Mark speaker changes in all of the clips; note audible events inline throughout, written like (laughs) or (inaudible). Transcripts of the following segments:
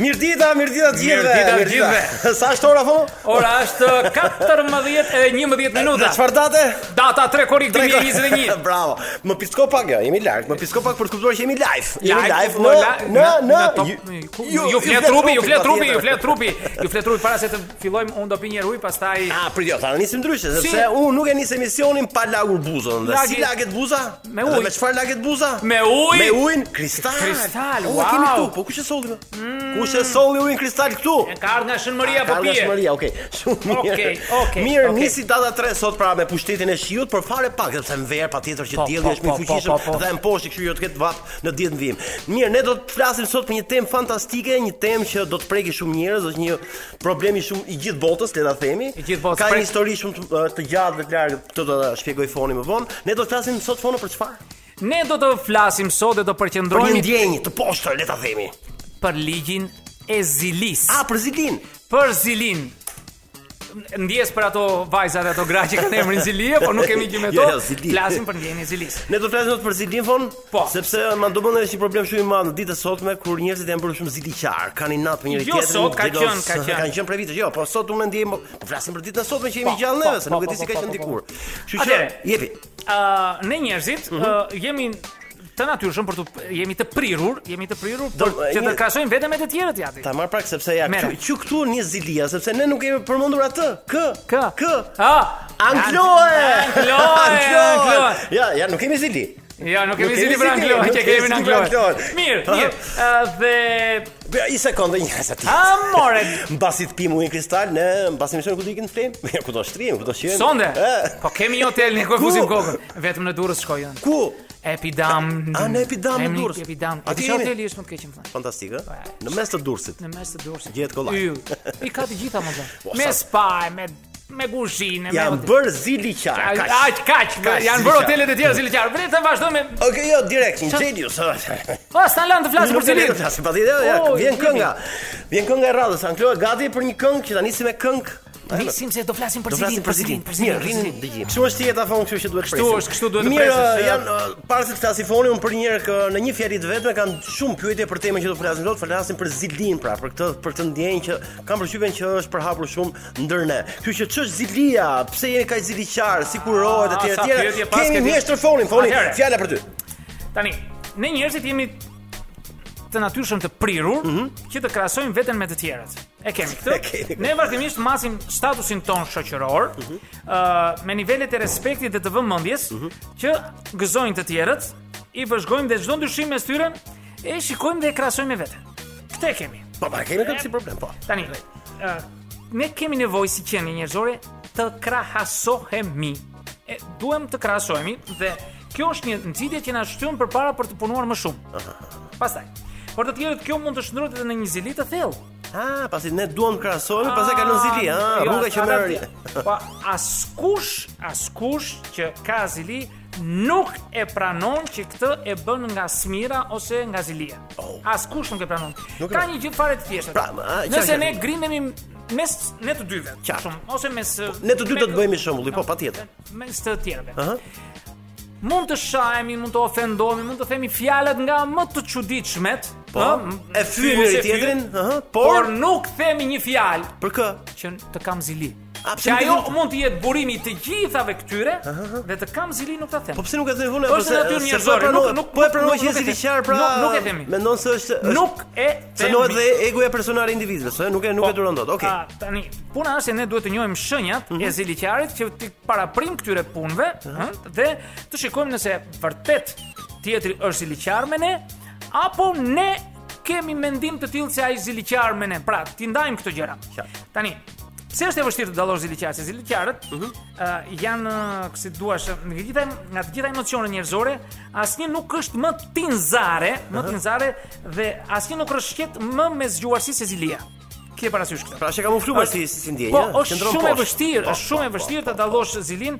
Speaker 1: Mirëdita, mirëdita të gjithëve.
Speaker 2: Mirëdita të
Speaker 1: (laughs) Sa është ora po?
Speaker 2: Ora është 14 e 11
Speaker 1: Dhe
Speaker 2: minuta.
Speaker 1: çfarë date?
Speaker 2: Data 3 korrik
Speaker 1: (laughs)
Speaker 2: 2021.
Speaker 1: Bravo. Më pisko pak jo, jemi lart. Më pisko pak për të kuptuar që jemi live. Jemi live
Speaker 2: po,
Speaker 1: në
Speaker 2: la-
Speaker 1: në në
Speaker 2: top- ku- ju flet trupi, ju flet trupi,
Speaker 1: patjetër.
Speaker 2: ju flet trupi. Ju flet trupi para se të fillojmë, unë do pi një ujë, pastaj
Speaker 1: Ah, për jo, tani nisim ndryshe, sepse
Speaker 2: Si?
Speaker 1: unë nuk e nis emisionin pa lagur buzën. Dhe si
Speaker 2: Lagi-
Speaker 1: laget buza?
Speaker 2: Me
Speaker 1: Dhe
Speaker 2: ujë.
Speaker 1: Me çfarë laget buza?
Speaker 2: me ujë.
Speaker 1: Me ujin kristal.
Speaker 2: Kristal,
Speaker 1: O, e kemi
Speaker 2: wow. Mm.
Speaker 1: këtu, po kush e solli? më? Kush e solli ujin kristal këtu?
Speaker 2: Ka ardhur nga shënmëria po
Speaker 1: Ka
Speaker 2: pije.
Speaker 1: dashmëria, okay. Shumë mirë.
Speaker 2: Okej, okej,
Speaker 1: Mirë,
Speaker 2: okej.
Speaker 1: nisi data 3 sot para me pushtetin e shiut, por fare pak, sepse në verë patjetër që
Speaker 2: Po,
Speaker 1: dielli
Speaker 2: po,
Speaker 1: është më i
Speaker 2: po, po,
Speaker 1: fuqishëm
Speaker 2: po, po.
Speaker 1: dhe në poshtë, kështu që të ketë vap në ditën vim. Mirë, ne do të flasim sot për një temë fantastike, një temë që do të preki shumë njerëz, është një problem i shumë i gjithë botës, le ta themi.
Speaker 2: I gjithë botës,
Speaker 1: Ka një
Speaker 2: prek-
Speaker 1: histori shumë të, të gjatë dhe të largë, këtë do ta shpjegoj foni më vonë. Ne do të flasim sot fono për çfarë?
Speaker 2: Ne do të flasim sot dhe do
Speaker 1: Për një
Speaker 2: përqendrohemi
Speaker 1: ndjenjë të poshtër, le ta themi.
Speaker 2: për ligjin e zilis.
Speaker 1: A për Zilin.
Speaker 2: Për zilin. Ndjes për ato vajza dhe ato gra që kanë emrin Zilie, por nuk kemi gjë me
Speaker 1: Jo,
Speaker 2: to.
Speaker 1: jo, Zili.
Speaker 2: Flasim për ndjenjën e zilis.
Speaker 1: Ne do të flasim sot për zilin fon,
Speaker 2: Po.
Speaker 1: sepse më domon është një problem shumë i madh në ditët e sotme kur njerëzit janë bërë shumë ziliqar, kanë inat për njëri
Speaker 2: Jo, sot ka
Speaker 1: dhe do-
Speaker 2: qenë, ka qenë.
Speaker 1: Kanë qenë prej vitesh, jo, po sot unë ndjej, mo- po flasim për ditën e sotme që jemi
Speaker 2: Po,
Speaker 1: gjallë
Speaker 2: po,
Speaker 1: neve, se
Speaker 2: po,
Speaker 1: nuk e di
Speaker 2: po,
Speaker 1: si ka
Speaker 2: po, po,
Speaker 1: qenë
Speaker 2: po,
Speaker 1: dikur.
Speaker 2: po.
Speaker 1: Kështu që,
Speaker 2: Atëhere.
Speaker 1: jepi.
Speaker 2: Uh, ne njerëzit
Speaker 1: Mhm.
Speaker 2: ë, jemi të natyrshëm për të jemi të prirur, jemi të prirur
Speaker 1: Do-
Speaker 2: për që të
Speaker 1: një-
Speaker 2: krahasojmë vetëm me të tjerët ja ti.
Speaker 1: Ta marr pak sepse ja,
Speaker 2: Merë.
Speaker 1: që, që këtu një zilia, sepse ne nuk kemi përmendur atë. K.
Speaker 2: K.
Speaker 1: K.
Speaker 2: Ah,
Speaker 1: Angloe.
Speaker 2: Angloe. Angloe.
Speaker 1: Ja, ja, nuk kemi zili.
Speaker 2: Ja, nuk kemi
Speaker 1: Nuk kemi
Speaker 2: zili për
Speaker 1: zili,
Speaker 2: Angloe,
Speaker 1: nuk
Speaker 2: që
Speaker 1: kemi
Speaker 2: kemi në
Speaker 1: zili për
Speaker 2: Angloe.
Speaker 1: Angloe.
Speaker 2: Mirë,
Speaker 1: Ha.
Speaker 2: mirë. ë, Dhe
Speaker 1: Bëja i sekondë një sa ti.
Speaker 2: a more
Speaker 1: Mbasi të pimu një kristal, ne mbasi mision ku do ikin në (laughs) flemë, ku do shtrim, ku do shijojmë.
Speaker 2: sonde.
Speaker 1: E,
Speaker 2: Po kemi një hotel ne ku e fusim
Speaker 1: Ku?
Speaker 2: kokën. Vetëm në Durrës shkojën.
Speaker 1: Ku?
Speaker 2: Epidam.
Speaker 1: A, në Epidam në
Speaker 2: Emri
Speaker 1: Durrës.
Speaker 2: Epidam.
Speaker 1: Aty
Speaker 2: Aty
Speaker 1: jemi?
Speaker 2: hoteli është më të keq më thënë.
Speaker 1: Fantastik, ë? Në mes të Durrësit.
Speaker 2: Po, Në mes të Durrësit.
Speaker 1: Gjehet kollaj.
Speaker 2: Yll. I ka të gjitha
Speaker 1: (laughs)
Speaker 2: më
Speaker 1: Po,
Speaker 2: thënë. Me
Speaker 1: sa-
Speaker 2: spa, me me kuzhinë, me
Speaker 1: Janë
Speaker 2: hotel.
Speaker 1: bërë zili
Speaker 2: Ai
Speaker 1: qarë.
Speaker 2: kaq, kaq,
Speaker 1: Kaq,
Speaker 2: janë
Speaker 1: si
Speaker 2: bërë
Speaker 1: qarë.
Speaker 2: hotelet e tjera si liqar. Vre të vazhdojmë. me-
Speaker 1: Okej, jo, direkt, ingenius.
Speaker 2: Po, s'tan lënë të flasim për
Speaker 1: të
Speaker 2: cilin.
Speaker 1: flasim, patjetër, ja,
Speaker 2: O,
Speaker 1: vjen
Speaker 2: jepi.
Speaker 1: kënga. Vjen kënga e radhës, Anklo e gati për një këngë që ta nisim me këngë.
Speaker 2: Nisim se do flasim për
Speaker 1: Do
Speaker 2: cilin,
Speaker 1: flasim për zilin,
Speaker 2: për
Speaker 1: mirë,
Speaker 2: cilin, për
Speaker 1: rrinë
Speaker 2: cilin.
Speaker 1: në dëgjim. Kështu është jeta fon, kështu që duhet
Speaker 2: Kështu
Speaker 1: presim.
Speaker 2: është, kështu duhet të
Speaker 1: Mirë,
Speaker 2: presim, se-
Speaker 1: janë ë, para se të flasim fonin, unë për një herë kë- në një fjalë të vetme kanë shumë pyetje për temën që do flasim sot, flasim për zilin pra, për këtë për këtë ndjenjë që kam përshtypjen që është përhapur shumë ndër ne. Kështu që ç'është zilia, pse jemi kaq ziliqar, si kurohet
Speaker 2: Ah,
Speaker 1: etj
Speaker 2: sa
Speaker 1: etj.
Speaker 2: pyetje pas
Speaker 1: Kemi
Speaker 2: këtij.
Speaker 1: mjeshtër fonin, fonin,
Speaker 2: Atëherë.
Speaker 1: fjala për ty.
Speaker 2: Tani, ne njerëzit jemi të natyrshëm të prirur që të krahasojmë veten me të tjerët. E kemi këtë.
Speaker 1: E kemi.
Speaker 2: Ne vazhdimisht masim statusin ton shoqëror, ë me nivelet e respektit dhe të vëmendjes që gëzojnë të tjerët, i vëzhgojmë dhe çdo ndryshim mes tyre e shikojmë dhe e krahasojmë me veten. Këtë e kemi.
Speaker 1: Po, pa kemi këtë si problem, po.
Speaker 2: Tani, ë ne kemi nevojë si qenie njerëzore të krahasohemi. E, duhem të krahasohemi dhe kjo është një nxitje që na shtyn përpara për të punuar më shumë. Pastaj. Por të tjerët kjo mund të shndrohet edhe në një zili të thellë.
Speaker 1: Ah, pasi ne duam krahasohemi, pastaj kalon zili, ah, rruga që merr.
Speaker 2: Jo, Po askush, askush që ka zili nuk e pranon që këtë e bën nga smira ose nga zilia.
Speaker 1: Oh.
Speaker 2: Askush nuk e pranon.
Speaker 1: Nuk e
Speaker 2: ka
Speaker 1: pranon.
Speaker 2: një gjë fare të thjeshtë.
Speaker 1: Pra, a, qartë,
Speaker 2: Nëse
Speaker 1: qartë.
Speaker 2: ne grimemi mes ne të dyve,
Speaker 1: Qartë. Po,
Speaker 2: ose mes
Speaker 1: Ne të dy do të
Speaker 2: me-
Speaker 1: bëhemi shembull, po patjetër.
Speaker 2: mes të tjerëve.
Speaker 1: Aha.
Speaker 2: Mund të shajemi, mund të ofendohemi, mund të themi fjalët nga më të çuditshmet,
Speaker 1: Po,
Speaker 2: ë,
Speaker 1: e
Speaker 2: fy,
Speaker 1: fyn
Speaker 2: mm, mos
Speaker 1: njëri
Speaker 2: fy,
Speaker 1: tjetrin, ëh,
Speaker 2: por
Speaker 1: por
Speaker 2: nuk themi një fjalë
Speaker 1: për kë?
Speaker 2: që të kam zili.
Speaker 1: A, pse
Speaker 2: Që
Speaker 1: nuk e
Speaker 2: ajo
Speaker 1: thon-
Speaker 2: mund të jetë burimi i të gjithave këtyre dhe të kam zili nuk ta them.
Speaker 1: Po pse nuk e thënë vonë?
Speaker 2: Po është natyrë njerëzore, nuk- nuk-
Speaker 1: po e pranoj
Speaker 2: nuk-
Speaker 1: që
Speaker 2: nuk e
Speaker 1: jesi
Speaker 2: themi.
Speaker 1: liçar pra.
Speaker 2: Nuk- nuk e themi.
Speaker 1: Mendon se është është-
Speaker 2: nuk e
Speaker 1: cënohet
Speaker 2: themi. Po. Ah.
Speaker 1: dhe egoja personale e individëve, se nuk e nuk e duron dot. Okej. Mhm.
Speaker 2: A, tani, puna është se ne duhet të njohim shenjat e ziliqarit që ti paraprim këtyre punëve, ëh, dhe të shikojmë nëse vërtet tjetri është ziliqar me ne apo ne kemi mendim të tillë se ai ziliqar me ne. Pra, ti ndajmë këto gjëra.
Speaker 1: Qartë.
Speaker 2: Tani, pse është e vështirë të dallosh ziliqarët? Se ziliqarët
Speaker 1: Mhm.
Speaker 2: ë, janë, ë, si duash, nga të gjitha nga të gjitha emocionet njerëzore, asnjë nuk është më tinzare, më
Speaker 1: Mhm.
Speaker 2: tinzare dhe asnjë nuk rrshqet më me zgjuarsi se zilia. Kje parasysh këtë?
Speaker 1: Pra është e kamufluar
Speaker 2: Është-
Speaker 1: si si si ndjenjë,
Speaker 2: Po,
Speaker 1: ja,
Speaker 2: është
Speaker 1: qëndron
Speaker 2: shumë e
Speaker 1: poshtë.
Speaker 2: vështirë,
Speaker 1: Po,
Speaker 2: është shumë
Speaker 1: po,
Speaker 2: e
Speaker 1: po.
Speaker 2: vështirë të dallosh zilin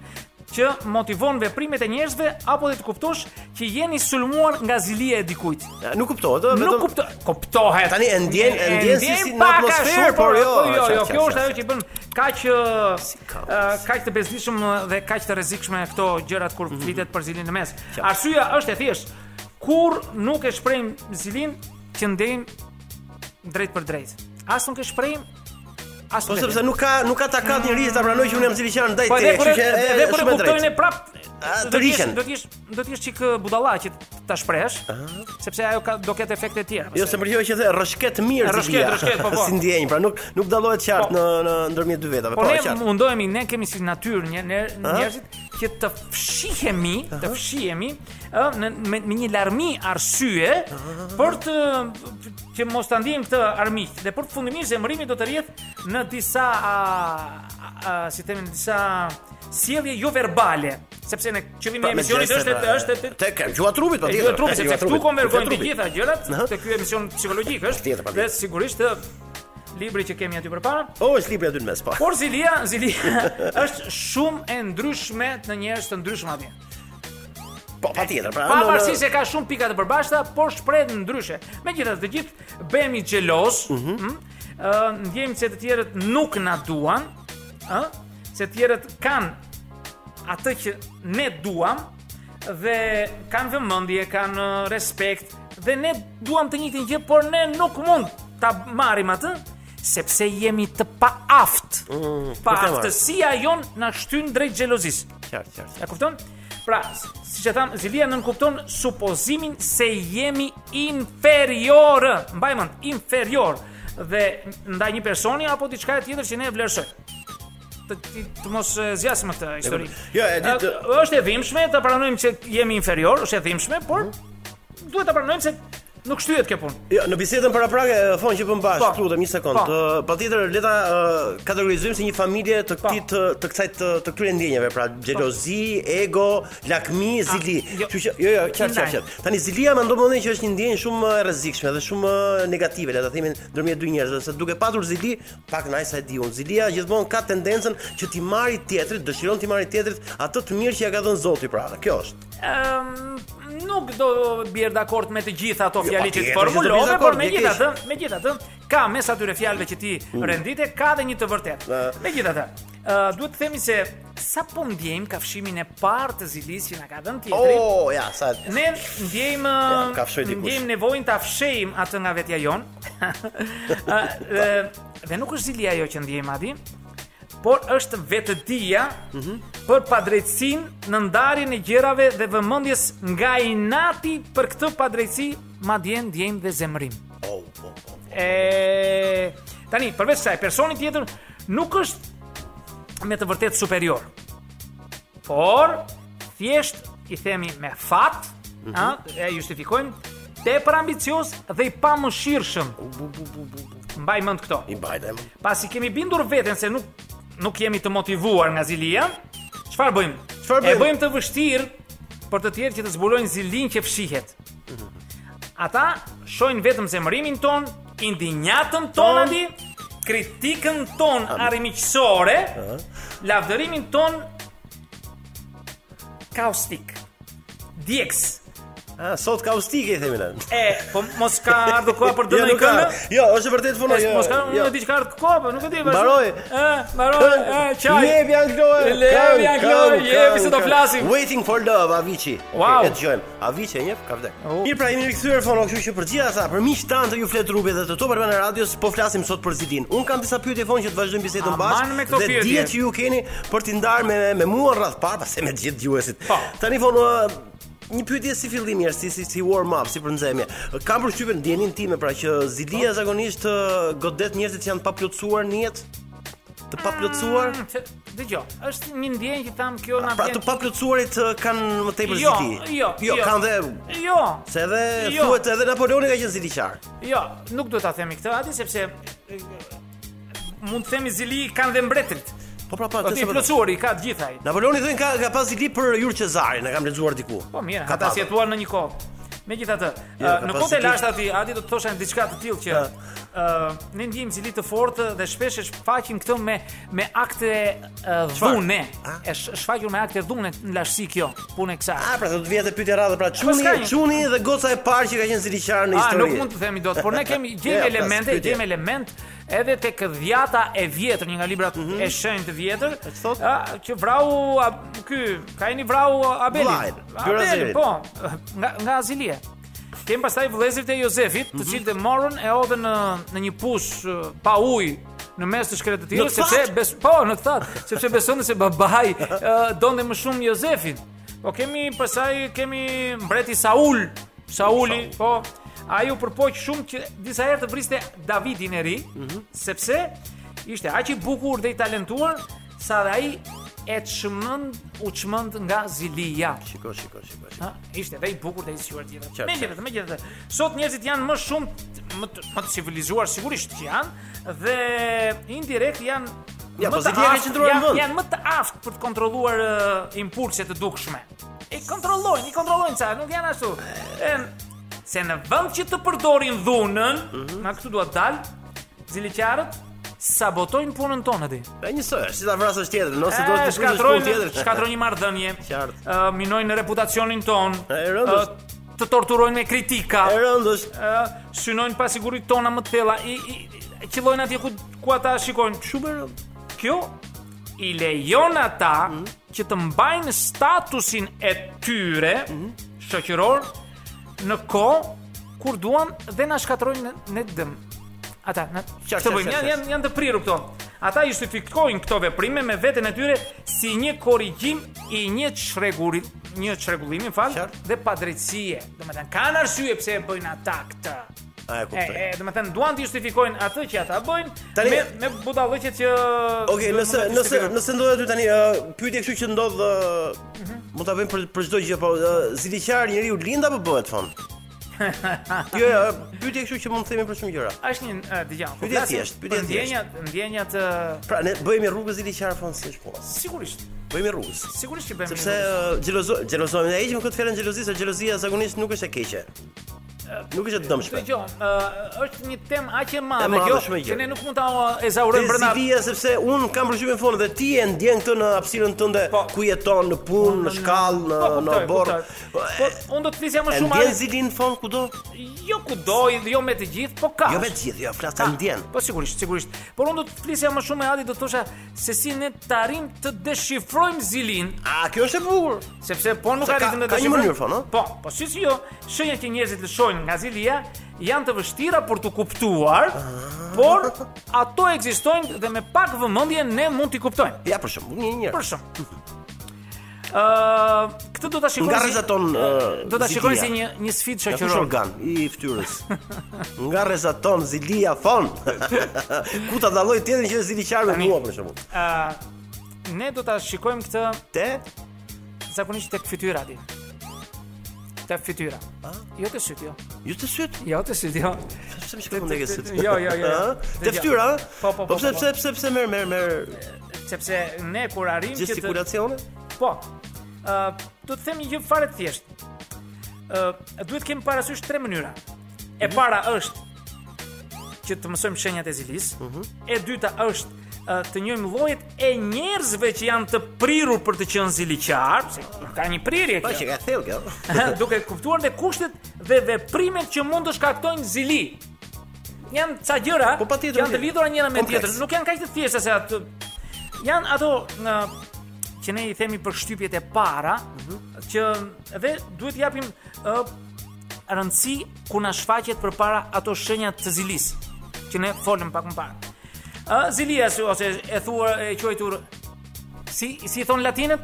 Speaker 2: që motivon veprimet e njerëzve apo dhe të kuptosh që jeni sulmuar nga zilia e dikujt.
Speaker 1: Ja, Nuk kuptohet, ë,
Speaker 2: Nuk
Speaker 1: vetëm
Speaker 2: kupto, kuptohet.
Speaker 1: Tani e ndjen- e ndjen si- si në
Speaker 2: pak
Speaker 1: atmosferë,
Speaker 2: ashtu,
Speaker 1: por jo,
Speaker 2: jo,
Speaker 1: qartë,
Speaker 2: jo,
Speaker 1: qartë,
Speaker 2: kjo është
Speaker 1: qartë,
Speaker 2: ajo që i bën kaq
Speaker 1: ka,
Speaker 2: ë, kaq të bezdishëm dhe kaq të rrezikshme këto gjërat kur
Speaker 1: Mhm.
Speaker 2: flitet për zilin në mes. Arsyeja është e thjeshtë. Kur nuk e shprehim zilin, që ndejmë drejt për drejt. As nuk e shprehim, as
Speaker 1: Po
Speaker 2: nuk e
Speaker 1: sepse nuk ka nuk ka takat njerëz ta pranoj që unë jam ziliqan ndaj
Speaker 2: Po
Speaker 1: te,
Speaker 2: edhe kur
Speaker 1: kështu që
Speaker 2: e- edhe kur e
Speaker 1: shumë
Speaker 2: kuptojnë e
Speaker 1: drejtë.
Speaker 2: prap
Speaker 1: A,
Speaker 2: do
Speaker 1: të
Speaker 2: të jesh
Speaker 1: riqen.
Speaker 2: do të jesh do të jesh çik uh, budalla që ta shpresh, sepse ajo ka do ketë efekte të tjera.
Speaker 1: Jo
Speaker 2: pastaj.
Speaker 1: se përgjoj që the rrshket mirë
Speaker 2: Rrshket,
Speaker 1: Zilia. (laughs)
Speaker 2: rrshket, po, po.
Speaker 1: Si ndjenjë, pra nuk nuk dallohet qartë
Speaker 2: Po.
Speaker 1: në në ndërmjet dy vetave,
Speaker 2: Po
Speaker 1: po e
Speaker 2: ne
Speaker 1: qartë.
Speaker 2: mundohemi, ne kemi si natyrë një ner- njerëzit që të fshihemi, të fshihemi ë, në me, me një larmi arsye për të që mos ta ndjejmë këtë armiq. Dhe për fundimisht zemërimi do të rrjedh në disa a, a, si themi në disa sjellje jo verbale, sepse në qëllimi i
Speaker 1: me
Speaker 2: emisionit
Speaker 1: gjeste,
Speaker 2: është
Speaker 1: pra,
Speaker 2: është të-
Speaker 1: tek gjua trupit
Speaker 2: E
Speaker 1: patjetër.
Speaker 2: gjua trupi, sepse këtu konvergojnë të
Speaker 1: Gjua trupit.
Speaker 2: gjitha gjërat,
Speaker 1: Aha.
Speaker 2: te ky emision psikologjik
Speaker 1: Patjetër,
Speaker 2: është.
Speaker 1: patjetër.
Speaker 2: Dhe sigurisht ë, libri që kemi aty përpara.
Speaker 1: O, është libri aty në mes, po.
Speaker 2: Por Zilia, Zilia (laughs) është shumë e ndryshme në njerëz të ndryshëm atje.
Speaker 1: Po, patjetër, pra. në- në-
Speaker 2: Pavarësisht se ka shumë pika të përbashkëta, por shprehet ndryshe. Megjithatë, të gjithë bëhemi xhelos, ëh, mm ndjejmë se të tjerët nuk na duan, ëh, se të tjerët kanë atë që ne duam dhe kanë vëmendje, kanë ë, respekt dhe ne duam të njëjtin gjë, por ne nuk mund ta marrim atë sepse jemi të paaft.
Speaker 1: për
Speaker 2: Mm,
Speaker 1: të
Speaker 2: pa
Speaker 1: marrë.
Speaker 2: aftësia jon na shtyn drejt xhelozisë.
Speaker 1: qartë, qartë.
Speaker 2: Ja kupton? Pra, s- siç e tham, Zilia nën kupton supozimin se jemi inferior. Mbaj mend, inferior dhe ndaj një personi apo diçka e tjetër që ne e vlerësojmë. Të, ti- të mos e zgjasim këtë histori.
Speaker 1: Jo, e di
Speaker 2: A,
Speaker 1: të-
Speaker 2: Është e dhimbshme të pranojmë që jemi inferior, është e dhimbshme, por
Speaker 1: Mhm.
Speaker 2: duhet ta pranojmë se nuk shtyhet kjo punë.
Speaker 1: Jo, në bisedën para prake, fon që bëm bashkë,
Speaker 2: Po.
Speaker 1: lutem një sekond.
Speaker 2: Po.
Speaker 1: Ë, Patjetër le ta ë, kategorizojmë si një familje të
Speaker 2: Po.
Speaker 1: këtij të, të kësaj të, të këtyre ndjenjave, pra xhelozi, ego, lakmi, zili.
Speaker 2: jo.
Speaker 1: Kështu që jo, jo, qartë, qartë, qartë. Tani zilia më ndonë që është një ndjenjë shumë e rrezikshme dhe shumë e negative, le ta themi ndërmjet dy njerëzve, se duke patur zili, pak na sa e di unë. Zilia gjithmonë ka tendencën që ti marri tjetrit, dëshiron ti marri tjetrit atë të mirë që ja ka dhënë Zoti pra. Kjo është.
Speaker 2: Ëm, Ehm, nuk do bjerë dakord me të gjitha ato
Speaker 1: patjetër
Speaker 2: fjali që të
Speaker 1: që do bjerë
Speaker 2: formulove,
Speaker 1: dakord,
Speaker 2: por
Speaker 1: bje
Speaker 2: megjithatë, megjithatë, ka mes atyre fjalëve që ti rendite, ka Mm. dhe një të vërtetë.
Speaker 1: Da.
Speaker 2: Megjithatë, ë, duhet të themi se sa po ndjejmë kafshimin e parë të zilis që na ka dhënë tjetri.
Speaker 1: Oh, ja, sa
Speaker 2: Ne ndjejmë
Speaker 1: Ja, ka fshoj dikush.
Speaker 2: ndjejmë nevojën ta fshejmë atë nga vetja
Speaker 1: (laughs)
Speaker 2: jon. (laughs) Ë, ë, dhe nuk është zilia ajo që ndjejmë adi, por është vetëdia
Speaker 1: Mhm.
Speaker 2: për padrejtësinë në ndarjen e gjërave dhe vëmendjes nga inati për këtë padrejtësi, madje ndjejmë dhe zemërim.
Speaker 1: Oh, po, po.
Speaker 2: E tani përveç kësaj personi tjetër nuk është me të vërtetë superior. Por thjesht i themi me fat, mm e justifikojmë tepër ambicioz dhe i pamëshirshëm. Mbaj mend këto.
Speaker 1: I bajtem.
Speaker 2: Pasi kemi bindur veten se nuk nuk jemi të motivuar nga zilia, çfarë bëjmë?
Speaker 1: Çfarë
Speaker 2: E
Speaker 1: bëjmë?
Speaker 2: bëjmë të vështirë për të tjerë që të zbulojnë zilin që fshihet. Ata shojnë vetëm zemërimin ton, indinjatën ton
Speaker 1: Ton.
Speaker 2: andi, kritikën ton arimiqësore, lavdërimin ton kaustik, djeks.
Speaker 1: Ah, sot ka ustike i themi ne.
Speaker 2: E, po mos ka ardhur koha për
Speaker 1: Jo,
Speaker 2: dënë
Speaker 1: nuk ka.
Speaker 2: këngë?
Speaker 1: Jo, është vërtet funo.
Speaker 2: Mos
Speaker 1: Jo,
Speaker 2: mos ka unë
Speaker 1: jo.
Speaker 2: di çka ardh koha, po nuk e di. vazhdo.
Speaker 1: Mbaroj.
Speaker 2: E, mbaroj. E, çaj.
Speaker 1: Jep janë Kloe.
Speaker 2: Le,
Speaker 1: Kam,
Speaker 2: janë
Speaker 1: kam,
Speaker 2: Kloe,
Speaker 1: kam,
Speaker 2: jepi se do
Speaker 1: kam.
Speaker 2: flasim.
Speaker 1: Waiting for love Avicii.
Speaker 2: Wow.
Speaker 1: Okay, e dëgjojmë. Avicii e njeh ka vdek.
Speaker 2: Oh.
Speaker 1: Mirë pra jemi rikthyer fono, kështu që për gjithë ata, për miq tanë të ju flet trupi dhe të Top Albana Radios, po flasim sot për Zilin. Un kam disa pyetje fon që të vazhdojmë bisedën
Speaker 2: Aman Ah, me
Speaker 1: bashkë
Speaker 2: këto
Speaker 1: dhe
Speaker 2: pyetje.
Speaker 1: dihet që ju keni për t'i ndarë me me mua rradh parë, pastaj me të gjithë dëgjuesit.
Speaker 2: Po.
Speaker 1: Tani fon ë, Një pyetje si fillim njerëz, si si, si warm up, si për nxemje. Kam përshtypjen ndjenin time pra që Zilia zakonisht ë, godet njerëzit që janë pa plotësuar në jetë, të pa plotësuar.
Speaker 2: Mm, Dëgjoj, është një ndjenjë që tham kjo na
Speaker 1: Pra të paplotësuarit ë, kanë më tepër
Speaker 2: Jo,
Speaker 1: zili.
Speaker 2: jo,
Speaker 1: jo,
Speaker 2: jo.
Speaker 1: kanë dhe
Speaker 2: Jo,
Speaker 1: se edhe
Speaker 2: Jo.
Speaker 1: thuhet edhe Napoleoni ka qenë ziliqar.
Speaker 2: jo, nuk do ta themi këtë aty sepse e, mund të themi zili kanë dhe mbretërit.
Speaker 1: Po pra pra,
Speaker 2: Po
Speaker 1: të
Speaker 2: ti
Speaker 1: se-
Speaker 2: plotësuari ka të gjithaj.
Speaker 1: Napoleoni thënë ka ka pas zili për Jur Cezarin, e kam lexuar diku.
Speaker 2: Po mirë,
Speaker 1: Ka
Speaker 2: ata
Speaker 1: pasur.
Speaker 2: si jetuan në një kohë. Megjithatë, ë,
Speaker 1: ka
Speaker 2: në
Speaker 1: pas
Speaker 2: kohë të
Speaker 1: zili.
Speaker 2: lashta aty, aty do të thosha diçka të tillë që ë ne ndjejmë zili të fortë dhe shpesh e shfaqim këtë me me akte ë, dhune.
Speaker 1: A?
Speaker 2: E sh- shfaqur me akte dhune në lashtësi kjo, punë e kësaj.
Speaker 1: A pra do të vjetë pyetja radhë pra çuni,
Speaker 2: s'ka një.
Speaker 1: çuni dhe goca e parë që ka qenë ziliqar në histori.
Speaker 2: A, nuk mund të themi dot,
Speaker 1: (laughs)
Speaker 2: por ne kemi gjejmë
Speaker 1: Ja, plas,
Speaker 2: elemente,
Speaker 1: pyetje.
Speaker 2: gjejmë element edhe tek dhjata e vjetër, një nga librat e shenjtë të vjetër,
Speaker 1: Mhm. thot?
Speaker 2: a, që vrau a, ky, ka një vrau Abelin.
Speaker 1: Vllajt, Byrazirit.
Speaker 2: po, nga nga Azilia. Kem pastaj vëllezërit e Jozefit, të cilët e morën e odhën në në një push uh, pa ujë në mes të shkretë të tjera,
Speaker 1: Në
Speaker 2: sepse
Speaker 1: fat?
Speaker 2: bes, po, në të thatë, sepse besonin se babai uh, donte më shumë Jozefin. Po kemi pastaj kemi mbreti Saul, Sauli, po ai u përpoq shumë që disa herë të vriste Davidin e ri, sepse ishte aq i bukur dhe i talentuar sa dhe ai e çmend u çmend nga Zilia.
Speaker 1: Shiko, shiko, shiko. shiko.
Speaker 2: Ha, ishte dhe i bukur dhe i zgjuar tjetër.
Speaker 1: Qartë,
Speaker 2: Megjithatë, megjithatë, sot njerëzit janë më shumë t- më të, më të civilizuar sigurisht që janë dhe indirekt janë
Speaker 1: Ja,
Speaker 2: më
Speaker 1: po
Speaker 2: të
Speaker 1: Zilia ka
Speaker 2: aftë-
Speaker 1: qëndruar në
Speaker 2: janë-
Speaker 1: vend.
Speaker 2: Janë më të aftë për të kontrolluar uh, impulset të dukshme. E kontrollojnë, i kontrollojnë ca, nuk janë ashtu. E, se në vend që të përdorin dhunën,
Speaker 1: Mhm.
Speaker 2: nga këtu duhet dal, ziliqarët sabotojnë punën tonë aty.
Speaker 1: E njësoj, është si ta vrasësh tjetër, nëse
Speaker 2: E,
Speaker 1: do të shkruash punë
Speaker 2: Eh, shkatrojnë,
Speaker 1: tjetër.
Speaker 2: shkatrojnë një marrëdhënie.
Speaker 1: Qartë.
Speaker 2: Ë, minojnë reputacionin ton.
Speaker 1: E, rëndës.
Speaker 2: ë, të torturojnë me kritika.
Speaker 1: E rëndë është
Speaker 2: ë, synojnë pasigurit tona më të thella. I, i, i qillojnë atje ku ku ata shikojnë. Kështu bërë. Kjo i lejon ata që të mbajnë statusin e tyre shoqëror në kohë kur duan dhe na shkatrojnë në, në dëm. Ata, na,
Speaker 1: Qartë,
Speaker 2: këtë bëjmë,
Speaker 1: qartë,
Speaker 2: janë, janë, janë të prirur këto. Ata justifikojnë këto veprime me veten e tyre si një korrigjim i një çrregurit, një çrregullimi, më fal,
Speaker 1: Qartë.
Speaker 2: dhe padrejtësie. Domethënë kanë arsye pse e bëjnë ata këtë.
Speaker 1: A, e kuptoj.
Speaker 2: E, e domethënë duan të justifikojnë atë që ata bëjnë
Speaker 1: Po Tani-
Speaker 2: me me budallëqe që
Speaker 1: Okej,
Speaker 2: që
Speaker 1: nëse
Speaker 2: mund ta
Speaker 1: nëse
Speaker 2: justifikojnë.
Speaker 1: nëse ndodhet aty tani, uh, pyetje kështu që ndodh, uh, mund ta bëjmë për për çdo gjë, po uh, ziliqar njeriu lind apo bëhet fon?
Speaker 2: (laughs)
Speaker 1: jo, jo, pyetje kështu që mund të themi për shumë gjëra.
Speaker 2: është një e, dëgjoj. po
Speaker 1: Pyetje
Speaker 2: flasim
Speaker 1: thjesht,
Speaker 2: për
Speaker 1: pyetje thjesht.
Speaker 2: Ndjenjat, ndjenjat e,
Speaker 1: Pra ne bëhemi rrugës ziliqar fon si është puna.
Speaker 2: sigurisht,
Speaker 1: Bëhemi rrugës.
Speaker 2: sigurisht që bëjmë.
Speaker 1: Sepse
Speaker 2: një-
Speaker 1: uh, xhelozo xhelozojmë, ne heqim këtë fjalën xhelozi, se xhelozia zakonisht nuk është e keqe. Nuk është e dëmshme.
Speaker 2: Dëgjoj, ë, është një temë aq e
Speaker 1: E
Speaker 2: madhe
Speaker 1: madhe,
Speaker 2: kjo
Speaker 1: shumë e
Speaker 2: që
Speaker 1: gjerë.
Speaker 2: ne nuk mund ta ë, ezaurojmë brenda
Speaker 1: Zilia sepse un kam përshtypjen fon dhe ti e ndjen këtë në hapësirën tënde
Speaker 2: Po.
Speaker 1: ku jeton në punë, në shkallë, në
Speaker 2: Po,
Speaker 1: në
Speaker 2: kuptoj,
Speaker 1: borë.
Speaker 2: kuptoj. Po unë do të flisja më
Speaker 1: E
Speaker 2: shumë
Speaker 1: ndjen
Speaker 2: ale-
Speaker 1: zilin fon kudo?
Speaker 2: jo kudo, jo me të gjithë, po ka.
Speaker 1: Jo me të gjithë, jo, flas ta ndjen.
Speaker 2: Po sigurisht, sigurisht. Por unë do të flisja më shumë me Adi, do të thosha se si ne të arrim të deshifrojmë zilin,
Speaker 1: A, kjo është e bukur.
Speaker 2: sepse po nuk
Speaker 1: Se ka-
Speaker 2: arritëm të
Speaker 1: ka një
Speaker 2: deshifrojmë.
Speaker 1: mënyrë, po, no?
Speaker 2: Po, po si si jo, shenjat që njerëzit lëshojnë nga zilia janë të vështira për të kuptuar,
Speaker 1: Ah.
Speaker 2: por ato ekzistojnë dhe me pak vëmendje ne mund t'i kuptojmë.
Speaker 1: Ja, për shembull, një njëherë.
Speaker 2: Për shemb. Ë, këtë do ta shikojmë.
Speaker 1: Nga
Speaker 2: si-
Speaker 1: rrezaton ë,
Speaker 2: do ta shikojmë
Speaker 1: Zilia.
Speaker 2: si një një sfidë
Speaker 1: Nga kush
Speaker 2: shoqërore.
Speaker 1: organ i
Speaker 2: (laughs)
Speaker 1: fytyrës. Nga rrezaton zilia fon. Ku ta dalloj tjetrin që është ziliqar me
Speaker 2: Tani.
Speaker 1: mua për shembull.
Speaker 2: Ë, ne do ta shikojmë këtë
Speaker 1: Te?
Speaker 2: zakonisht tek fytyra aty. Tek fytyra.
Speaker 1: Ah.
Speaker 2: Jo te syt, jo.
Speaker 1: Ju të syt?
Speaker 2: Jo te syt, jo.
Speaker 1: Pse më shkon tek e syt?
Speaker 2: Jo, jo,
Speaker 1: (laughs)
Speaker 2: jo.
Speaker 1: Ha? Te
Speaker 2: Dëgjoj.
Speaker 1: fytyra? ha?
Speaker 2: Po, po, po,
Speaker 1: Po pse
Speaker 2: po, po.
Speaker 1: pse pse pse merr merr merr
Speaker 2: Sepse ne kur arrim që të
Speaker 1: gestikulacione?
Speaker 2: Po. Ë, do të them një gjë fare të thjeshtë. Ë, duhet kemi parasysh tre mënyra. E para është që të mësojmë shenjat e zilis. E dyta është ë, të njohim llojet e njerëzve që janë të prirur për të qenë ziliqar, se ka një prirje
Speaker 1: Po që
Speaker 2: kjo.
Speaker 1: ka thellë kjo.
Speaker 2: duke kuptuar dhe kushtet dhe veprimet që mund të shkaktojnë zili. Janë ca gjëra
Speaker 1: Po, patjetër,
Speaker 2: janë të
Speaker 1: mirë.
Speaker 2: lidhura njëra me
Speaker 1: Kompleks.
Speaker 2: tjetrën, nuk janë kaq të thjeshta se atë janë ato në që ne i themi për shtypjet e para,
Speaker 1: Mhm.
Speaker 2: që dhe duhet japim ë, rëndësi ku na shfaqet përpara ato shenjat të zilis, që ne folëm pak më parë. Ë zilia si- ose e thuar e quajtur si si i thon latinët?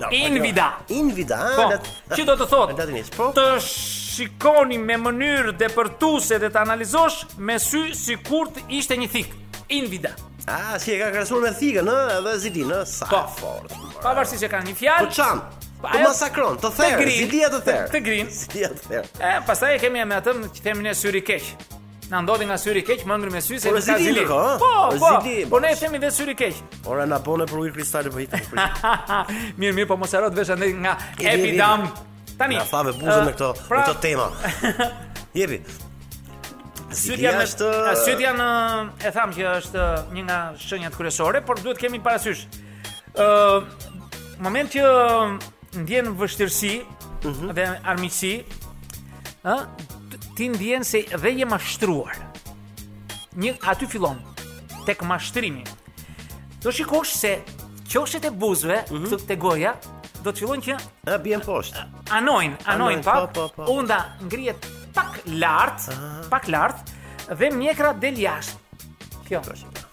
Speaker 1: No,
Speaker 2: (laughs) Invida.
Speaker 1: po, jo. Invida. ha,
Speaker 2: Po,
Speaker 1: lat-
Speaker 2: që do të
Speaker 1: (laughs)
Speaker 2: thotë?
Speaker 1: Latinisht, po.
Speaker 2: Të shikoni me mënyrë depërtuese dhe të analizosh me sy sikur të ishte një thik. Invida.
Speaker 1: Ah, si e ka krahasuar me thikën, ë, edhe zilin, ë, sa
Speaker 2: Po.
Speaker 1: fort. more.
Speaker 2: Pavarësisht që kanë një
Speaker 1: Po
Speaker 2: fjalë.
Speaker 1: çan. Po
Speaker 2: Po ajo-
Speaker 1: masakron, të therë,
Speaker 2: grin,
Speaker 1: zilia të therë.
Speaker 2: të grin.
Speaker 1: Zilia të therë.
Speaker 2: E, pastaj e kemi me atë që themin e syri keq. Na ndodhi nga syri keq, më ngri me sy se
Speaker 1: Po,
Speaker 2: nuk ka
Speaker 1: zili
Speaker 2: zili.
Speaker 1: ka, ha?
Speaker 2: Po, po.
Speaker 1: Zili,
Speaker 2: Po
Speaker 1: po,
Speaker 2: ne e themi dhe syri keq. (laughs)
Speaker 1: Ora na bone për ujë kristale po hitem. për-
Speaker 2: mirë, mirë, po mos haro të vesh andaj nga
Speaker 1: Jeri, jeri.
Speaker 2: Epidam. Tani.
Speaker 1: Na thave buzën
Speaker 2: ë,
Speaker 1: me këto me
Speaker 2: pra-
Speaker 1: këto
Speaker 2: (laughs)
Speaker 1: tema. Jepi.
Speaker 2: Syt
Speaker 1: Zilia
Speaker 2: janë
Speaker 1: është
Speaker 2: a, syt janë e tham që është një nga shenjat kryesore, por duhet kemi parasysh. ë moment që ndjen vështirësi dhe armiqësi, ë t- ti ndjen se dhe je mashtruar. Një aty fillon tek mashtrimi. Do shikosh se qoshet e buzëve këtu te goja do të fillojnë që
Speaker 1: a bien poshtë.
Speaker 2: anojnë, anojnë
Speaker 1: Anojnë,
Speaker 2: pak.
Speaker 1: po, po, po.
Speaker 2: Unda ngrihet lart, pak lart dhe mjekra del jashtë. Kjo.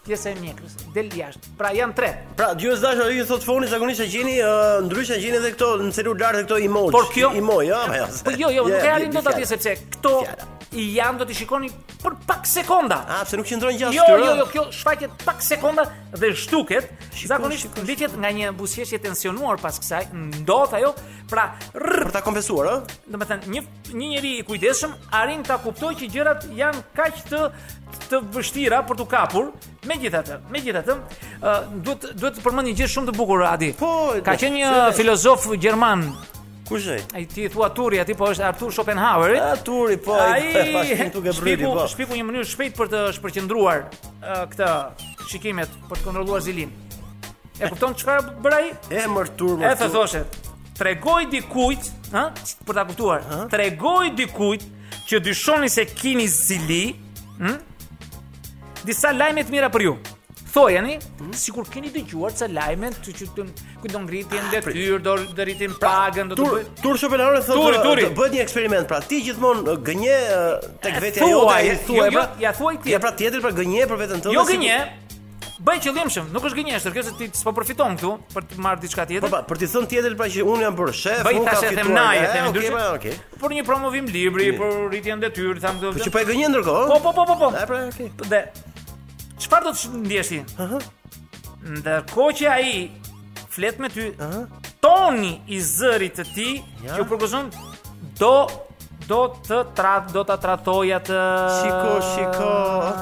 Speaker 2: Pjesa e mjekrës del jashtë. Pra janë tre.
Speaker 1: Pra, dëgjues dashur, ju thot foni zakonisht e gjeni, uh, ndryshe gjeni edhe këto në celular dhe këto emoji.
Speaker 2: Por kjo-
Speaker 1: emoj, ja, ja.
Speaker 2: Po jo, jo, nuk e halim dot atje
Speaker 1: atje
Speaker 2: sepse këto
Speaker 1: Fjala. Ah,
Speaker 2: i janë do t'i shikoni për pak sekonda.
Speaker 1: A, pse nuk qëndron gjatë
Speaker 2: Jo,
Speaker 1: këtyre?
Speaker 2: jo, jo, kjo shfaqet pak sekonda dhe shtuket. Zakonisht
Speaker 1: shiko, shiko.
Speaker 2: ndiqet nga një buzëqeshje tensionuar pas kësaj, ndodh ajo, pra rrr,
Speaker 1: Për ta kompensuar, ë?
Speaker 2: do të thënë një një njeri i kujdesshëm arrin ta kuptojë që gjërat janë kaq të të vështira për t'u kapur. Megjithatë, megjithatë, ë, duhet duhet të përmend një gjë shumë të bukur Adi.
Speaker 1: Po,
Speaker 2: ka
Speaker 1: do-
Speaker 2: qenë një
Speaker 1: se-
Speaker 2: filozof gjerman,
Speaker 1: Kush ai?
Speaker 2: ai ti i thua Turi, aty po është Arthur Schopenhauer.
Speaker 1: A turi po, (laughs) ai bashkë tu Gabrieli
Speaker 2: shpiku,
Speaker 1: po.
Speaker 2: shpiku një mënyrë shpejt për të shpërqendruar ë, këtë shikimet për të kontrolluar zilin. E kupton çfarë bëra ai?
Speaker 1: Emër tur,
Speaker 2: E
Speaker 1: më
Speaker 2: të thoshe, tregoj dikujt, ha? Për ta kuptuar, tregoj dikujt që dyshoni se kini zili, hm? Disa lajme të mira për ju. Thojeni, sikur keni dëgjuar ca lajme që që të- ku do ngritin detyrë, do do rritin pagën, do të
Speaker 1: Tur,
Speaker 2: bëj.
Speaker 1: tur Schopenhauer thotë
Speaker 2: Turi,
Speaker 1: ë,
Speaker 2: turi.
Speaker 1: të bëhet një eksperiment, pra ti gjithmonë ë, gënje ë, tek
Speaker 2: E
Speaker 1: vetja
Speaker 2: thuaj,
Speaker 1: jote,
Speaker 2: jo,
Speaker 1: ai thuaj
Speaker 2: jo,
Speaker 1: pra.
Speaker 2: ja thuaj ti.
Speaker 1: Ja pra tjetër pra gënje për veten tënde.
Speaker 2: Jo
Speaker 1: si-
Speaker 2: gënje. Bëj qëllimshëm, nuk është gënjeshtër, kjo se ti s'po përfiton këtu për të marrë diçka
Speaker 1: Po
Speaker 2: tjetër.
Speaker 1: pa, për të thënë tjetër pra që unë jam bërë shef,
Speaker 2: Bëj
Speaker 1: unë kam
Speaker 2: tash e
Speaker 1: fituar.
Speaker 2: them naje,
Speaker 1: e,
Speaker 2: themi
Speaker 1: okay,
Speaker 2: ndryshe.
Speaker 1: pra, okay.
Speaker 2: Për një promovim libri, për rritjen detyrë, tham
Speaker 1: Po
Speaker 2: këto.
Speaker 1: që pa e gënje ndërkohë?
Speaker 2: Po, po, po, po, po.
Speaker 1: E pra, okay.
Speaker 2: Dhe çfarë do të sh- ndjesh ti? Ëh. Ndërkohë që ai flet me ty,
Speaker 1: Aha.
Speaker 2: toni i zërit të ti
Speaker 1: Ja.
Speaker 2: që u përgozon do do të tra do ta tratoja të
Speaker 1: Shiko, shiko.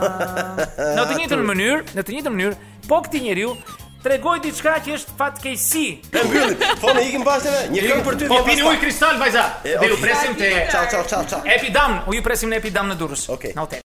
Speaker 2: në të njëjtën mënyrë, në të njëjtën mënyrë, po këtij njeriu tregoj diçka që është fatkeqësi.
Speaker 1: E mbyllim. Fona po ikim bashkë një këngë për ty.
Speaker 2: Po
Speaker 1: vjen
Speaker 2: pini
Speaker 1: pastaj.
Speaker 2: ujë kristal vajza.
Speaker 1: E,
Speaker 2: Dhe ju
Speaker 1: okay.
Speaker 2: presim te
Speaker 1: Ciao, ciao, ciao, ciao.
Speaker 2: Epidam, u ju presim në Epidam në Durrës.
Speaker 1: Okej.
Speaker 2: Në hotel.